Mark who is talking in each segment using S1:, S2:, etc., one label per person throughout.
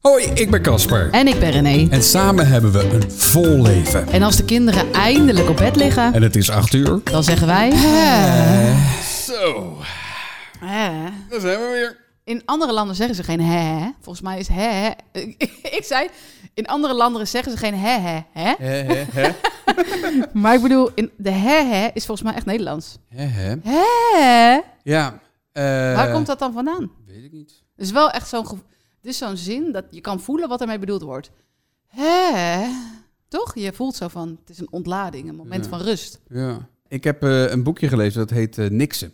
S1: Hoi, ik ben Casper.
S2: En ik ben René.
S1: En samen hebben we een vol leven.
S2: En als de kinderen eindelijk op bed liggen,
S1: En het is acht uur.
S2: dan zeggen wij...
S1: Zo,
S2: Hè?
S1: daar zijn we weer.
S2: In andere landen zeggen ze geen hè. Volgens mij is hè. hè. Ik zei, in andere landen zeggen ze geen hè hè. hè. Maar ik bedoel, in de hè hè is volgens mij echt Nederlands. Hè?
S1: Ja. eh,
S2: Waar komt dat dan vandaan?
S1: Weet ik niet.
S2: Het is wel echt zo'n... gevo- Het is zo'n zin dat je kan voelen wat ermee bedoeld wordt. Hè? Toch? Je voelt zo van, het is een ontlading, een moment
S1: Ja.
S2: van rust.
S1: Ja. Ik heb eh, een boekje gelezen dat heet eh Niksen.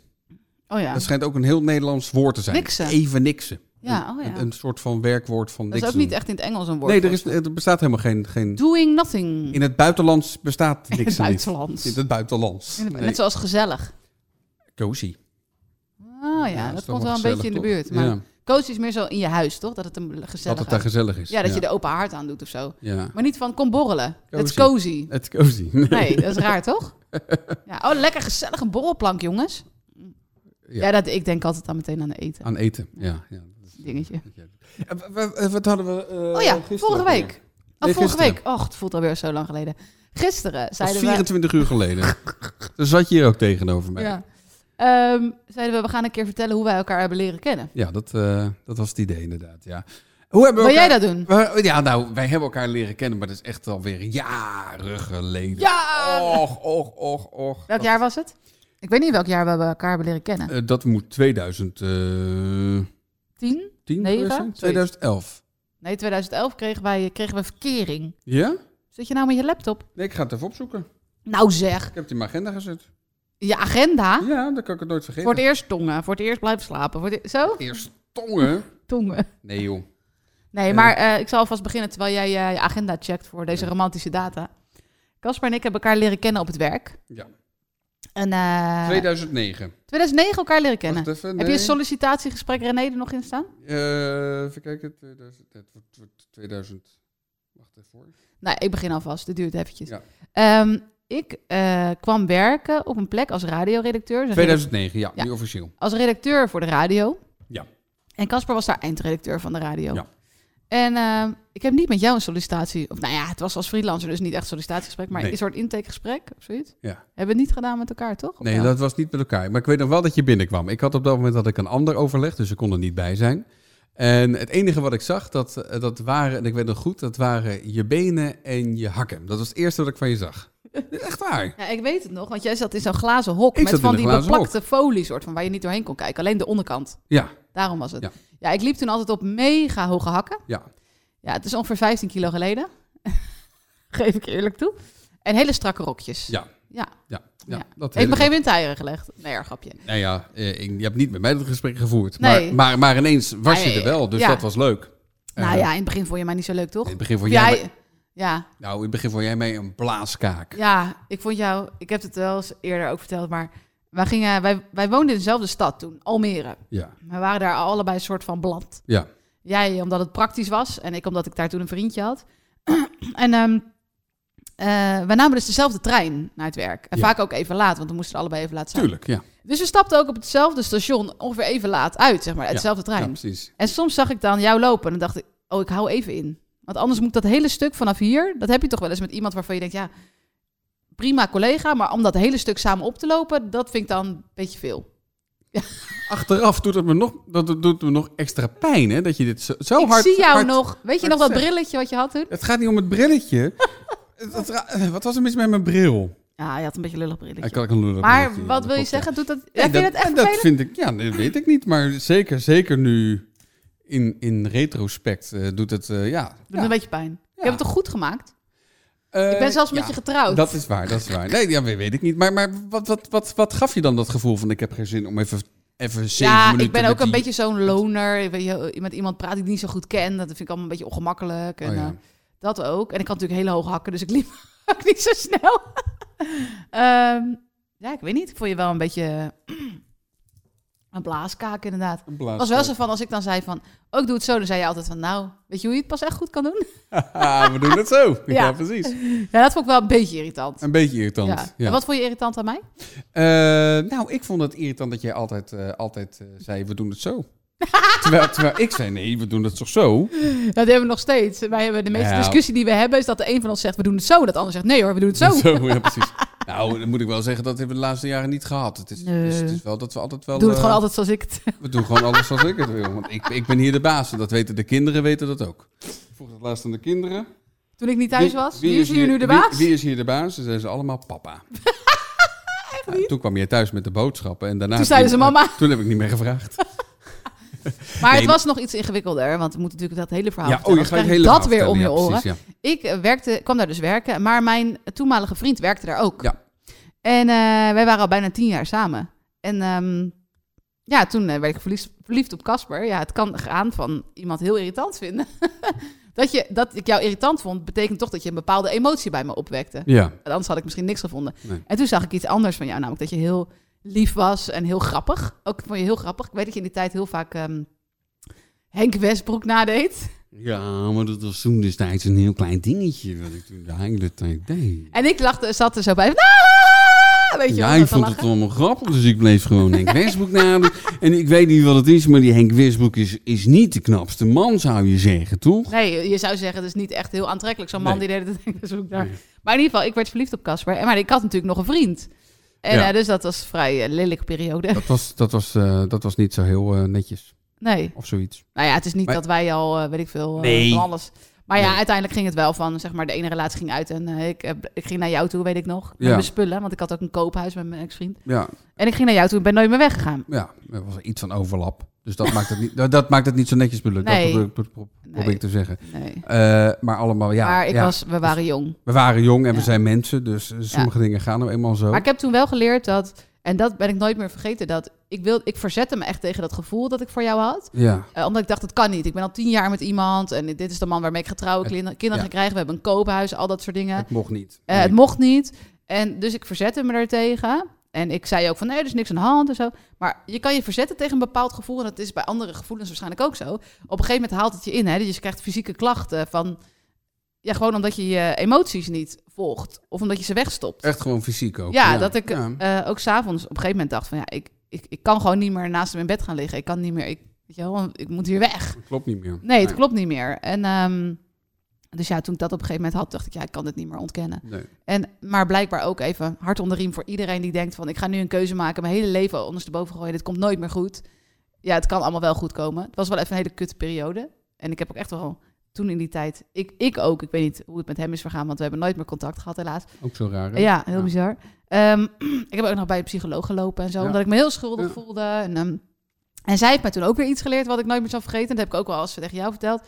S2: Oh ja.
S1: Dat schijnt ook een heel Nederlands woord te zijn.
S2: Niksen.
S1: Even niksen.
S2: Ja, oh ja.
S1: Een, een soort van werkwoord van
S2: Dat is ook
S1: niksen.
S2: niet echt in het Engels een woord.
S1: Nee, er,
S2: volgens
S1: is, er bestaat helemaal geen... geen...
S2: Doing nothing.
S1: In het buitenlands bestaat niksen
S2: In het
S1: niet.
S2: buitenland.
S1: In het buitenlands.
S2: In het-
S1: Nee.
S2: Net zoals gezellig.
S1: Cozy.
S2: Oh ja,
S1: is
S2: dat
S1: toch
S2: komt wel een
S1: gezellig,
S2: beetje in de
S1: toch?
S2: buurt. Maar
S1: Ja,
S2: cozy is meer zo in je huis, toch? Dat het een
S1: dat
S2: gezellig
S1: het daar gezellig is.
S2: Ja, dat je de open haard aan doet of zo.
S1: Ja.
S2: Maar niet van kom borrelen. Het is
S1: Cozy.
S2: cozy.
S1: Het cozy.
S2: Nee, dat is raar, toch? Ja, oh, lekker gezellig een borrelplank, jongens.
S1: Ja.
S2: Ja, dat, ik denk altijd dan meteen aan het eten.
S1: Aan eten, ja. ja.
S2: Dingetje.
S1: Eh, wa- wa- eh, Wat hadden we eh,
S2: Oh ja,
S1: gisteren
S2: vorige
S1: ook weer?
S2: week. Oh,
S1: Nee,
S2: vorige
S1: gisteren.
S2: week. Och, het voelt alweer zo lang geleden. Gisteren
S1: Dat is
S2: zeiden we...
S1: 24 uur geleden. Toen zat je hier ook tegenover mij. Ja,
S2: Ja. Ehm, zeiden we, we gaan een keer vertellen hoe wij elkaar hebben leren kennen.
S1: dat, eh, dat was het idee inderdaad, ja. Hoe hebben we
S2: Wil jij
S1: elkaar-
S2: dat doen?
S1: We- ja, nou, wij hebben elkaar leren kennen, maar dat is echt alweer jaren geleden.
S2: Ja!
S1: Och, och, och, och.
S2: Welk jaar was het? Ik weet niet welk jaar we elkaar hebben leren kennen.
S1: Eh, dat moet 2010
S2: Tien? Negen?
S1: geweest zijn?
S2: Zoiets.
S1: 2011.
S2: Nee, 2011 kregen, wij, kregen we verkering.
S1: Ja?
S2: Zit je nou met je laptop?
S1: Nee, ik ga het even opzoeken.
S2: Nou zeg,
S1: Ik heb het in mijn agenda gezet.
S2: je agenda?
S1: Ja, dan kan ik het nooit vergeten.
S2: Ah. Voor het eerst tongen, voor het eerst blijven slapen. Voor het e- Zo?
S1: Eerst tongen.
S2: Tongen.
S1: Nee, joh.
S2: Nee,
S1: Ja.
S2: maar eh, ik zal alvast beginnen terwijl jij eh, je agenda checkt voor deze romantische data. Casper en ik hebben elkaar leren kennen op het werk.
S1: Ja.
S2: En, eh,
S1: 2009.
S2: 2009 elkaar leren kennen.
S1: Wacht even,
S2: Heb je
S1: nee.
S2: een sollicitatiegesprek René er nog in staan?
S1: Eh, even kijken, 2000, het wordt- wordt 2000. Wacht even hoor.
S2: Nou, ik begin alvast. Dit duurt eventjes.
S1: Ja.
S2: Ehm, ik eh, kwam werken op een plek als radioredacteur. Zeg
S1: 2009, ja,
S2: Ja.
S1: nu officieel.
S2: als redacteur voor de radio.
S1: Ja.
S2: En Casper was daar eindredacteur van de radio.
S1: Ja.
S2: En ehm, ik heb niet met jou een sollicitatie... Of nou ja, het was als freelancer, dus niet echt sollicitatiegesprek... maar
S1: Nee.
S2: een soort intakegesprek of zoiets.
S1: Ja.
S2: Hebben we niet gedaan met elkaar, toch? Of
S1: Nee,
S2: wel?
S1: dat was niet met elkaar. Maar ik weet nog wel dat je binnenkwam. Ik had op dat moment had ik een ander overleg, dus ik kon er niet bij zijn. En het enige wat ik zag, dat, eh, dat waren, en ik weet nog goed, dat waren je benen en je hakken. Dat was het eerste wat ik van je zag. Echt waar.
S2: Ja, ik weet het nog, want jij zat in zo'n glazen hok...
S1: Ik zat
S2: met
S1: in een
S2: van die
S1: glazen hok.
S2: beplakte folie soort van... waar je niet doorheen kon kijken, alleen de onderkant.
S1: Ja,
S2: Daarom was het.
S1: Ja.
S2: Ja, ik liep toen altijd op mega hoge hakken.
S1: ja.
S2: Ja, het is ongeveer 15 kilo geleden. Geef ik eerlijk toe. En hele strakke rokjes.
S1: Ja.
S2: Ja.
S1: Ja, ja,
S2: Ja.
S1: dat
S2: Ik
S1: hele-
S2: begreep in tijden gelegd. Nee, erg grapje.
S1: Nou ja, eh, ik, je hebt niet met mij dat gesprek gevoerd.
S2: Nee.
S1: Maar, maar, maar ineens was je
S2: Nee,
S1: er wel, dus
S2: ja.
S1: dat was leuk.
S2: nou
S1: Eh,
S2: ja, in het begin vond je mij niet zo leuk, toch?
S1: In het begin vond
S2: Vond
S1: jij,
S2: jij-
S1: mij-
S2: Ja,
S1: nou, in het begin vond jij mij een blaaskaak.
S2: ja, ik vond jou... Ik heb het wel eens eerder ook verteld, maar... Wij, gingen, wij, wij woonden in dezelfde stad toen, Almere.
S1: Ja,
S2: We waren daar allebei een soort van bland.
S1: ja.
S2: Jij omdat het praktisch was en ik omdat ik daar toen een vriendje had. en ehm eh, wij namen dus dezelfde trein naar het werk. En
S1: Ja.
S2: vaak ook even laat, want we moesten er allebei even laat zijn.
S1: tuurlijk. Ja,
S2: Dus we stapten ook op hetzelfde station ongeveer even laat uit, zeg maar.
S1: Ja,
S2: Hetzelfde
S1: ja
S2: trein.
S1: precies.
S2: En soms zag ik dan jou lopen en dan dacht ik, oh, ik hou even in. Want anders moet ik dat hele stuk vanaf hier, dat heb je toch wel eens met iemand waarvan je denkt, ja, prima collega, maar om dat hele stuk samen op te lopen, dat vind ik dan een beetje veel.
S1: Achteraf doet het me nog, dat doet- doet me nog extra pijn, hè? Dat je dit zo, zo
S2: ik
S1: Oh, hard...
S2: zie jou
S1: hard-
S2: nog, weet je
S1: hard
S2: nog dat
S1: zeg.
S2: brilletje wat je had toen?
S1: Het gaat niet om het brilletje. Het- het ra- eh, wat was er mis met mijn bril?
S2: Ja, je had een beetje lullig brilletje.
S1: Ik had een lullig brilletje,
S2: maar
S1: ja,
S2: wat
S1: dat
S2: wil je
S1: klopt, ja.
S2: zeggen? Doet dat,
S1: Nee,
S2: heb je dat echt
S1: dat
S2: vervelend?
S1: vind ik, ja, dat weet ik niet. Maar zeker, zeker nu in, in retrospect eh, doet het, eh, ja.
S2: Doet me een beetje pijn. Je hebt het toch goed gemaakt?
S1: Eh,
S2: Ik ben zelfs
S1: ja,
S2: met je getrouwd.
S1: Dat is waar, dat is waar. Nee, ja, weet ik niet. Maar, maar wat, wat, wat, wat gaf je dan dat gevoel van ik heb geen zin om even, even zeven
S2: ja,
S1: minuten...
S2: ik ben
S1: met
S2: ook een
S1: die-
S2: beetje zo'n loner. Ik weet je, Met iemand praat die ik niet zo goed ken. Dat vind ik allemaal een beetje ongemakkelijk. En,
S1: Oh, ja.
S2: eh, dat ook. En ik had natuurlijk hele hoge hakken, dus ik liep ook niet zo snel. Ehm, ja, ik weet niet. Ik vond je wel een beetje een blaaskaak inderdaad.
S1: Een blaas-
S2: Het was wel zo van, als ik dan zei van, oh, ik doe het zo, dan zei je altijd van, nou, weet je hoe je het pas echt goed kan doen?
S1: Haha, we doen het zo. ja.
S2: Ja.
S1: precies.
S2: Ja, dat vond ik wel een beetje irritant.
S1: Een beetje irritant.
S2: Ja.
S1: Ja.
S2: En wat vond je irritant aan mij?
S1: Eh, nou, ik vond het irritant dat jij altijd, eh, altijd eh, zei, we doen het zo. Terwijl, terwijl ik zei, nee, we doen dat toch zo?
S2: Dat hebben we nog steeds. Wij hebben de meeste
S1: Ja.
S2: discussie die we hebben is dat de een van ons zegt we doen het zo, dat de ander zegt nee hoor, we doen het zo.
S1: ja, precies. Nou, dan moet ik wel zeggen, dat hebben we de laatste jaren niet gehad. Het is,
S2: Nee.
S1: dus het is wel dat we altijd wel...
S2: Doe het
S1: eh,
S2: gewoon altijd zoals ik het.
S1: We doen gewoon alles zoals ik het wil. Want ik, ik ben hier de baas en dat weten de kinderen weten dat ook. Ik vroeg dat laatst aan de kinderen.
S2: Toen ik niet thuis
S1: Wie-
S2: was. Wie, is hier nu de
S1: wie-
S2: baas?
S1: Wie, is hier de baas? Ze zeiden ze allemaal papa. Ja, toen kwam je thuis met de boodschappen en daarna...
S2: Toen
S1: heb ik
S2: zeiden
S1: niet-
S2: ze mama.
S1: Toen heb ik niet meer gevraagd.
S2: maar
S1: Nee, maar-
S2: het was nog iets ingewikkelder, want we moeten natuurlijk dat hele verhaal
S1: Ja, oh,
S2: vertellen,
S1: je gaat
S2: anders krijg
S1: hele
S2: ik dat
S1: verhaal
S2: weer om je
S1: vertellen. Ja,
S2: oren.
S1: precies, ja.
S2: Ik eh, werkte, kwam daar dus werken, maar mijn toenmalige vriend werkte daar ook.
S1: Ja.
S2: En eh, wij waren al bijna tien jaar samen. En ehm, ja, toen eh, werd ik verliefd, verliefd op Casper. Ja, het kan gaan van iemand heel irritant vinden. dat, je, dat ik jou irritant vond, betekent toch dat je een bepaalde emotie bij me opwekte.
S1: Ja,
S2: Want Anders had ik misschien niks gevonden.
S1: Nee.
S2: En toen zag ik iets anders van jou, namelijk dat je heel lief was en heel grappig. Ook ik vond je heel grappig. Ik weet dat je in die tijd heel vaak ehm, Henk Westbroek nadeed.
S1: Ja, maar dat was toen destijds een heel klein dingetje wat ik toen de hele tijd deed.
S2: En ik lachte, zat er zo bij. van, "Ah!" Weet je, om
S1: Ja,
S2: zo
S1: ik
S2: te
S1: vond
S2: lachen.
S1: het allemaal grappig, dus ik bleef gewoon Henk Westbroek nadoen. En ik weet niet wat het is, maar die Henk Westbroek is, is niet de knapste man, zou je zeggen, toch?
S2: Nee, je zou zeggen, het is niet echt heel aantrekkelijk. Zo'n man
S1: Nee.
S2: die deed het denk ik dus ook daar.
S1: Nee.
S2: Maar in ieder geval, ik werd verliefd op Casper. En- Maar ik had natuurlijk nog een vriend. En,
S1: Ja.
S2: eh, dus dat was een vrij eh, lelijke periode.
S1: Dat was, dat was, eh, dat was niet zo heel eh, netjes,
S2: Nee.
S1: of zoiets.
S2: Nou ja, het is niet
S1: Maar-
S2: dat wij al, eh, weet ik veel, eh,
S1: Nee.
S2: van alles. Maar ja,
S1: Nee.
S2: uiteindelijk ging het wel van, zeg maar, de ene relatie ging uit. En eh, ik, eh, ik ging naar jou toe, weet ik nog. Met
S1: Ja.
S2: mijn spullen, want ik had ook een koophuis met mijn ex-vriend.
S1: Ja,
S2: En ik ging naar jou toe en ben nooit meer weggegaan.
S1: ja, er was iets van overlap. Dus dat maakt het niet, dat, dat maakt het niet zo netjes, bedoel ik.
S2: Nee.
S1: Dat probeer, ik- pro- probeer
S2: Nee.
S1: ik te zeggen.
S2: Nee.
S1: Eh, maar allemaal, ja.
S2: maar ik
S1: ja. Oh.
S2: was, we waren jong.
S1: We waren jong en we
S2: Ja.
S1: zijn mensen, dus eh, sommige dingen gaan nou eenmaal zo.
S2: Maar ik heb toen wel geleerd dat, en dat ben ik nooit meer vergeten, dat ik, wil, ik verzette me echt tegen dat gevoel dat ik voor jou had.
S1: Ja,
S2: Eh, omdat ik dacht, het kan niet. Ik ben al tien jaar met iemand en dit is de man waarmee ik ga trouwen,
S1: Het-
S2: kinderen kinderen
S1: ja.
S2: ga krijgen, we hebben een koophuis, al dat soort dingen.
S1: het mocht niet.
S2: Eh,
S1: Nee.
S2: Het mocht niet. En dus ik verzette me daartegen. En ik zei ook van, nee, er is niks aan de hand en zo. Maar je kan je verzetten tegen een bepaald gevoel. En dat is bij andere gevoelens waarschijnlijk ook zo. Op een gegeven moment haalt het je in. Hè? Dus je krijgt fysieke klachten van... Ja, gewoon omdat je je emoties niet volgt. Of omdat je ze wegstopt.
S1: Echt gewoon fysiek ook.
S2: Ja, dat ik
S1: ja.
S2: eh, ook s'avonds op een gegeven moment dacht van... Ja, ik, ik, ik kan gewoon niet meer naast hem in bed gaan liggen. Ik kan niet meer... Ik, weet je wel, want ik moet hier weg.
S1: Dat klopt niet meer.
S2: Nee, het klopt niet meer. En ehm, dus ja, toen ik dat op een gegeven moment had, dacht ik... Ja, ik kan dit niet meer ontkennen.
S1: Nee.
S2: En, maar blijkbaar ook even hard onder riem voor iedereen die denkt van... ik ga nu een keuze maken, mijn hele leven ondersteboven gooien... dit komt nooit meer goed. Ja, het kan allemaal wel goed komen. Het was wel even een hele kutte periode. En ik heb ook echt wel toen in die tijd... Ik, ik ook, ik weet niet hoe het met hem is vergaan... want we hebben nooit meer contact gehad helaas.
S1: Ook zo raar. hè?
S2: Ja, heel
S1: Ja.
S2: bizar. Ehm, ik heb ook nog bij een psycholoog gelopen en zo...
S1: Ja.
S2: omdat ik me heel schuldig
S1: Ja.
S2: voelde. En, ehm, en zij heeft mij toen ook weer iets geleerd wat ik nooit meer zou vergeten. Dat heb ik ook wel eens tegen jou verteld.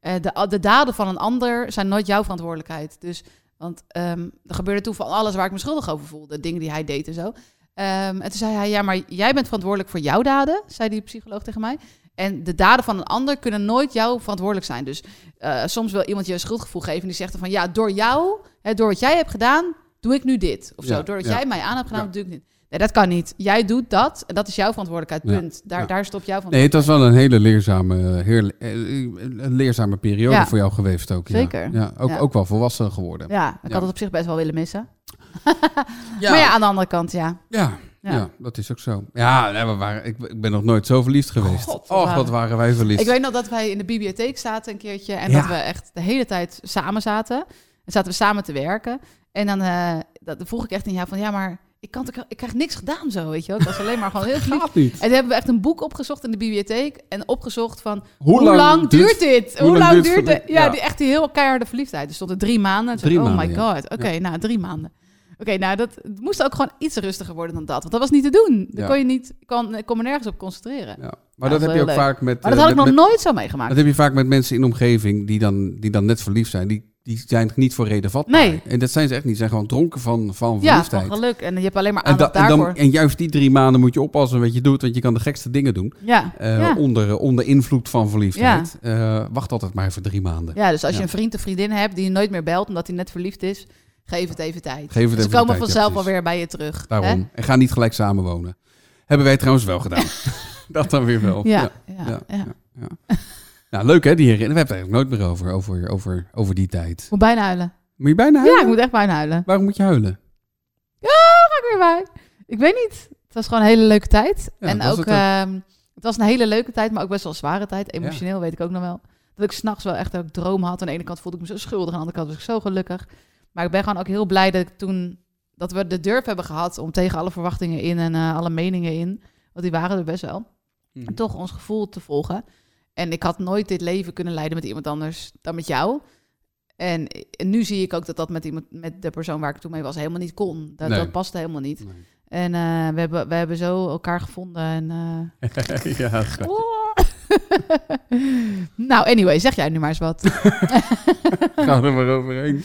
S2: Eh, de, de daden van een ander zijn nooit jouw verantwoordelijkheid. Dus, want ehm, er gebeurde toen van alles waar ik me schuldig over voelde. Dingen die hij deed en zo. Ehm, en toen zei hij, ja, maar jij bent verantwoordelijk voor jouw daden, zei die psycholoog tegen mij. En de daden van een ander kunnen nooit jou verantwoordelijk zijn. Dus eh, soms wil iemand je een schuldgevoel geven die zegt dan van, ja, door jou, hè, door wat jij hebt gedaan, doe ik nu dit. Of
S1: Ja,
S2: zo, doordat
S1: ja.
S2: jij mij aan hebt gedaan,
S1: Ja.
S2: doe ik niet. Nee, dat kan niet. Jij doet dat en dat is jouw verantwoordelijkheid,
S1: Ja,
S2: punt. Daar,
S1: ja.
S2: daar stopt jouw van.
S1: Nee, het was wel een hele leerzame, eh, heerl- eh, een leerzame periode
S2: Ja.
S1: voor jou geweest ook. ja.
S2: Zeker.
S1: Ja, ook,
S2: Ja.
S1: ook wel volwassen geworden.
S2: Ja, ik
S1: Ja.
S2: had het op zich best wel willen missen. Maar ja, aan de andere kant, ja.
S1: Ja,
S2: Ja.
S1: ja. dat is ook zo. Ja, nee, we waren, ik, ik ben nog nooit zo verliefd geweest.
S2: God, wat
S1: oh,
S2: waren-
S1: wat waren wij verliefd.
S2: Ik weet nog dat wij in de bibliotheek zaten een keertje. En
S1: Ja.
S2: dat we echt de hele tijd samen zaten. En zaten we samen te werken. En dan, eh, dat, dan vroeg ik echt aan jou van... Ja, maar ik, kan, toch- ik krijg niks gedaan zo, weet je wel. Ik was alleen maar gewoon heel verliefd.
S1: Gaat niet.
S2: En toen hebben we echt een boek opgezocht in de bibliotheek. En opgezocht van...
S1: Hoe lang duurt-
S2: duurt dit?
S1: hoe
S2: Hoe
S1: lang
S2: lang
S1: duurt
S2: duurt dit?
S1: verlie-
S2: Ja,
S1: ja.
S2: die, echt die heel keiharde verliefdheid. Er stonden drie maanden. Toen
S1: Drie
S2: dacht ik, oh
S1: maanden,
S2: my god. Oké, nou, drie maanden. Oké, nou, dat het moest ook gewoon iets rustiger worden dan dat. Want dat was niet te doen. Daar
S1: Ja.
S2: kon je niet... Kon, ik kon me nergens op concentreren.
S1: Ja. Maar
S2: Ja,
S1: dat heb
S2: dat is
S1: je ook
S2: heel leuk.
S1: vaak met...
S2: Maar
S1: eh,
S2: dat had ik
S1: met-
S2: nog
S1: met-
S2: nooit zo meegemaakt.
S1: Dat heb je vaak met mensen in de omgeving die dan, die dan net verliefd zijn. Die, die zijn niet voor reden vatbaar.
S2: Nee.
S1: En dat zijn ze echt niet. Ze zijn gewoon dronken van, van
S2: Ja,
S1: verliefdheid.
S2: van geluk. En je hebt alleen maar
S1: en, da-
S2: aandacht
S1: en,
S2: daarvoor.
S1: dan, en juist die drie maanden moet je oppassen wat je doet. Want je kan de gekste dingen doen.
S2: ja.
S1: eh,
S2: ja.
S1: onder, onder invloed van verliefdheid. Eh, wacht altijd maar even drie maanden.
S2: ja, dus als je
S1: Ja.
S2: een vriend of vriendin hebt die je nooit meer belt omdat hij net verliefd is, geef het even tijd.
S1: Geef het
S2: Ze
S1: even de
S2: komen
S1: tijd, ja,
S2: vanzelf
S1: precies.
S2: alweer bij je terug.
S1: Daarom. En ga niet gelijk samenwonen. Hebben wij trouwens wel gedaan. dat dan weer wel.
S2: Hè? Ja, ja, ja,
S1: ja, ja. Nou, leuk hè, die herinnering. We hebben het eigenlijk nooit meer over, over, over, over die tijd.
S2: Ik moet bijna huilen.
S1: Moet je bijna huilen?
S2: Ja, ik moet echt bijna huilen.
S1: Waarom moet je huilen?
S2: Ja, ga ik weer bij. Ik weet niet. Het was gewoon een hele leuke tijd.
S1: Ja,
S2: en
S1: dat was
S2: ook,
S1: het ook.
S2: ehm, Het was een hele leuke tijd, maar ook best wel een zware tijd. Emotioneel weet ik ook nog wel. Dat ik s'nachts wel echt ook droom had. Aan de ene kant voelde ik me zo schuldig, aan de andere kant was ik zo gelukkig. Maar ik ben gewoon ook heel blij dat ik toen dat we de durf hebben gehad om tegen alle verwachtingen in en eh, alle meningen in, want die waren er best wel,
S1: Hm.
S2: en toch ons gevoel te volgen. En ik had nooit dit leven kunnen leiden met iemand anders dan met jou. En, en nu zie ik ook dat dat met, iemand, met de persoon waar ik toen mee was helemaal niet kon. Dat,
S1: Nee.
S2: dat paste helemaal niet.
S1: Nee.
S2: En eh, we, hebben, we hebben zo elkaar gevonden. En, eh,
S1: ja, dat is waar.
S2: nou, anyway, zeg jij nu maar eens wat.
S1: ga er maar overheen.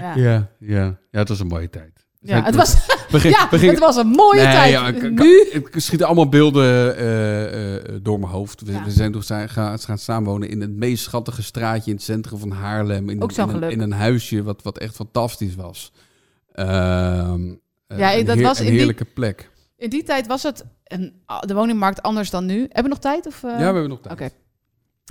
S2: Ja, ja.
S1: Ja, ja. ja, het was een mooie tijd.
S2: het, was,
S1: we gingen-
S2: ja
S1: we gingen-
S2: het was een mooie
S1: Nee,
S2: tijd.
S1: ja, ik- ik-
S2: nu
S1: Het schieten allemaal beelden eh, eh, door mijn hoofd. We,
S2: Ja.
S1: we zijn toen zijn- gaan, gaan samenwonen in het meest schattige straatje in het centrum van Haarlem. In,
S2: Ook zo'n
S1: in, een,
S2: geluk.
S1: in een huisje wat, wat echt fantastisch was. Ehm, eh,
S2: Ja,
S1: een
S2: dat was in
S1: een
S2: die-
S1: heerlijke plek.
S2: In die tijd was het een, de woningmarkt anders dan nu. Hebben we nog tijd? Of, eh?
S1: ja, we hebben nog tijd.
S2: Oké.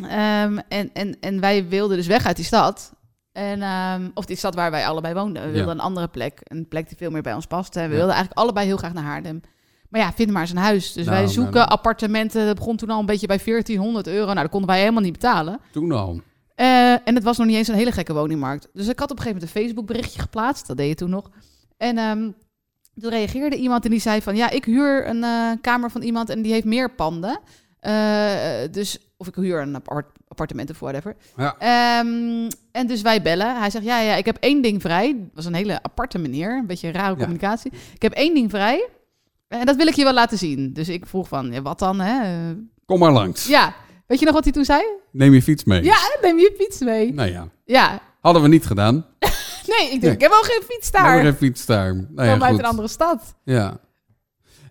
S2: Ehm, en, en, en wij wilden dus weg uit die stad. En, ehm, of die stad waar wij allebei woonden. We
S1: Ja.
S2: wilden een andere plek. Een plek die veel meer bij ons paste. En we
S1: Ja.
S2: wilden eigenlijk allebei heel graag naar Haarlem. Maar ja, vind maar eens een huis. Dus
S1: Nou,
S2: wij
S1: nou,
S2: zoeken
S1: nou.
S2: appartementen. Dat begon toen al een beetje bij 1400 euro. Nou, dat konden wij helemaal niet betalen.
S1: Toen al.
S2: Eh, en het was nog niet eens een hele gekke woningmarkt. Dus ik had op een gegeven moment een Facebook berichtje geplaatst. Dat deed je toen nog. En ehm, toen reageerde iemand en die zei van... Ja, ik huur een eh, kamer van iemand en die heeft meer panden. Eh, dus, of ik huur een apart, appartement of whatever.
S1: Ja.
S2: Ehm, en dus wij bellen. Hij zegt, ja, ja, ik heb één ding vrij. Dat was een hele aparte manier. Een beetje rare
S1: Ja.
S2: communicatie. Ik heb één ding vrij. En dat wil ik je wel laten zien. Dus ik vroeg van, ja, wat dan? Hè? Eh,
S1: Kom maar langs.
S2: Ja, weet je nog wat hij toen zei?
S1: Neem je fiets mee.
S2: Ja, neem je fiets mee.
S1: Nou ja,
S2: Ja,
S1: hadden we niet gedaan.
S2: Nee, ik denk,
S1: Nee.
S2: ik heb wel geen fiets
S1: Daar.
S2: daar.
S1: Maar een fiets daar. Nou ja,
S2: Kom uit
S1: goed.
S2: een andere stad.
S1: Ja.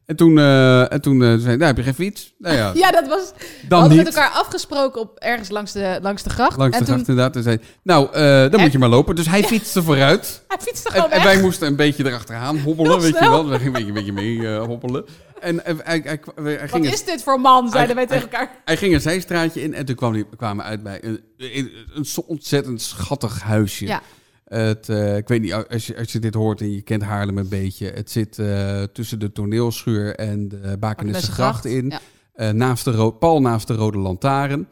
S1: En toen, eh, en toen eh, zei nou heb je geen fiets? Nou ja,
S2: Ja, dat was. we
S1: dan
S2: hadden
S1: niet.
S2: met elkaar afgesproken op ergens langs de, langs de gracht.
S1: Langs
S2: en
S1: de
S2: toen
S1: gracht inderdaad. En zei, nou, eh, dan
S2: En-
S1: moet je maar lopen. Dus hij fietste vooruit.
S2: hij fietste
S1: En,
S2: gewoon
S1: en
S2: weg.
S1: wij moesten een beetje erachteraan hobbelen,
S2: Heel
S1: weet je
S2: snel.
S1: wel. We gingen een beetje, een beetje mee eh, hobbelen. En eh, hij, hij, hij, hij ging
S2: Wat
S1: het,
S2: is dit voor man? Zeiden wij
S1: Hij-
S2: tegen elkaar.
S1: hij ging een zijstraatje in en toen kwam die, kwamen we uit bij een, een, een zo ontzettend schattig huisje.
S2: Ja.
S1: Het, eh, ik weet niet, als je, als je dit hoort en je kent Haarlem een beetje. Het zit eh, tussen de toneelschuur en de Bakenische Gracht in.
S2: Ja.
S1: Eh, naast de ro- pal naast de Rode Lantaarn.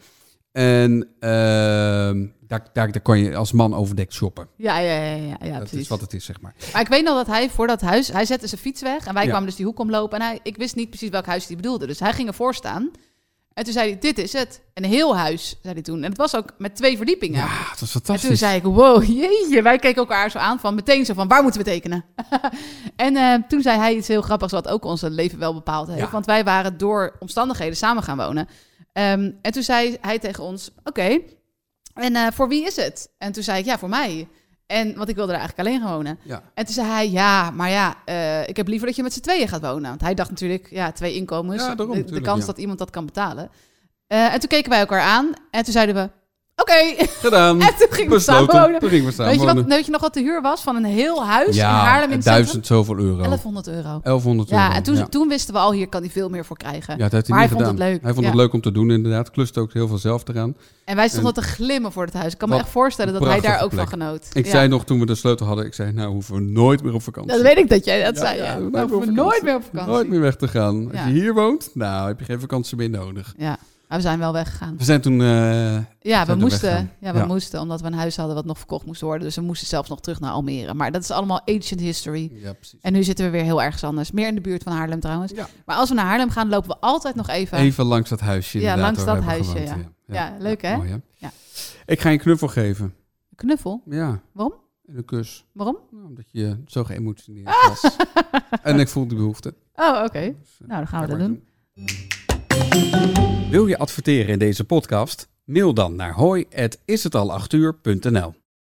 S1: En ehm, daar, daar, daar kan je als man overdekt shoppen.
S2: Ja, ja, ja, ja, ja,
S1: dat is
S2: precies.
S1: wat het is, zeg maar.
S2: Maar ik weet nog dat hij voor dat huis, hij zette zijn fiets weg en wij
S1: Ja.
S2: kwamen dus die hoek omlopen. En hij, ik wist niet precies welk huis hij bedoelde, dus hij ging ervoor staan. En toen zei hij, dit is het. Een heel huis, zei hij toen. En het was ook met twee verdiepingen.
S1: Ja, dat is
S2: En toen
S1: fantastisch.
S2: zei ik, wow, jeetje. Wij keken elkaar zo aan van meteen zo van, waar moeten we tekenen? en eh, toen zei hij iets heel grappigs wat ook ons leven wel bepaald heeft.
S1: Ja.
S2: Want wij waren door omstandigheden samen gaan wonen. Ehm, en toen zei hij tegen ons, oké, en eh, voor wie is het? En toen zei ik, ja, voor mij. En, want ik wilde er eigenlijk alleen gaan wonen.
S1: Ja.
S2: En toen zei hij, ja, maar ja, eh, ik heb liever dat je met z'n tweeën gaat wonen. Want hij dacht natuurlijk, ja, twee inkomens,
S1: Ja, daarom
S2: de, de
S1: natuurlijk,
S2: kans
S1: ja.
S2: dat iemand dat kan betalen. Eh, en toen keken wij elkaar aan en toen zeiden we, oké.
S1: Gedaan.
S2: En toen gingen we
S1: Besloten.
S2: samen wonen.
S1: Toen gingen we samen
S2: Weet je,
S1: wonen.
S2: wat, weet je nog wat de huur was van een heel huis
S1: ja,
S2: in Haarlem in het centrum?
S1: duizend zoveel euro.
S2: 1100 euro.
S1: 1100 euro.
S2: Ja, en toen,
S1: ja.
S2: toen wisten we al, hier kan hij veel meer voor krijgen.
S1: Ja, dat heeft hij
S2: maar
S1: niet
S2: hij vond
S1: gedaan.
S2: het leuk,
S1: Hij vond het
S2: ja.
S1: leuk om te doen, inderdaad. Kluste ook heel veel zelf eraan.
S2: En wij stonden te glimmen voor het huis. Ik kan me
S1: Wat
S2: echt voorstellen dat hij daar ook
S1: prachtige
S2: van genoot.
S1: Ik
S2: Ja.
S1: zei nog toen we de sleutel hadden, ik zei, nou hoeven we nooit meer op vakantie.
S2: dat weet ik dat jij dat
S1: Ja,
S2: zei.
S1: ja,
S2: Ja,
S1: we
S2: we
S1: blijven
S2: hoeven
S1: op vakantie.
S2: nooit meer op vakantie.
S1: Nooit meer weg te gaan. Als
S2: Ja.
S1: je hier woont, nou heb je geen vakantie meer nodig.
S2: Ja, maar we zijn wel weggegaan.
S1: We zijn toen, eh,
S2: Ja, we
S1: zijn er
S2: moesten,
S1: weggegaan.
S2: ja, we
S1: Ja.
S2: moesten, omdat we een huis hadden wat nog verkocht moest worden. Dus we moesten zelfs nog terug naar Almere. Maar dat is allemaal ancient history.
S1: ja, precies.
S2: En nu zitten we weer heel ergens anders. Meer in de buurt van Haarlem trouwens.
S1: Ja.
S2: Maar als we naar Haarlem gaan, lopen we altijd nog even.
S1: even langs dat huisje.
S2: Ja,
S1: inderdaad,
S2: langs
S1: waar we
S2: dat
S1: hebben
S2: huisje,
S1: gewoond,
S2: Ja, leuk, hè?
S1: Mooi,
S2: Ja.
S1: Ik ga je een knuffel geven.
S2: Knuffel.
S1: Ja.
S2: Waarom?
S1: En een kus.
S2: Waarom?
S1: Nou, omdat je zo geëmotioneerd
S2: Ah!
S1: was. En ik voel die behoefte.
S2: Oh, oké.
S1: Dus, eh,
S2: Nou, dan gaan
S1: ga
S2: we dat
S1: maar
S2: doen.
S1: Wil je adverteren in deze podcast? Mail dan naar hoi@ishetalachuur.nl.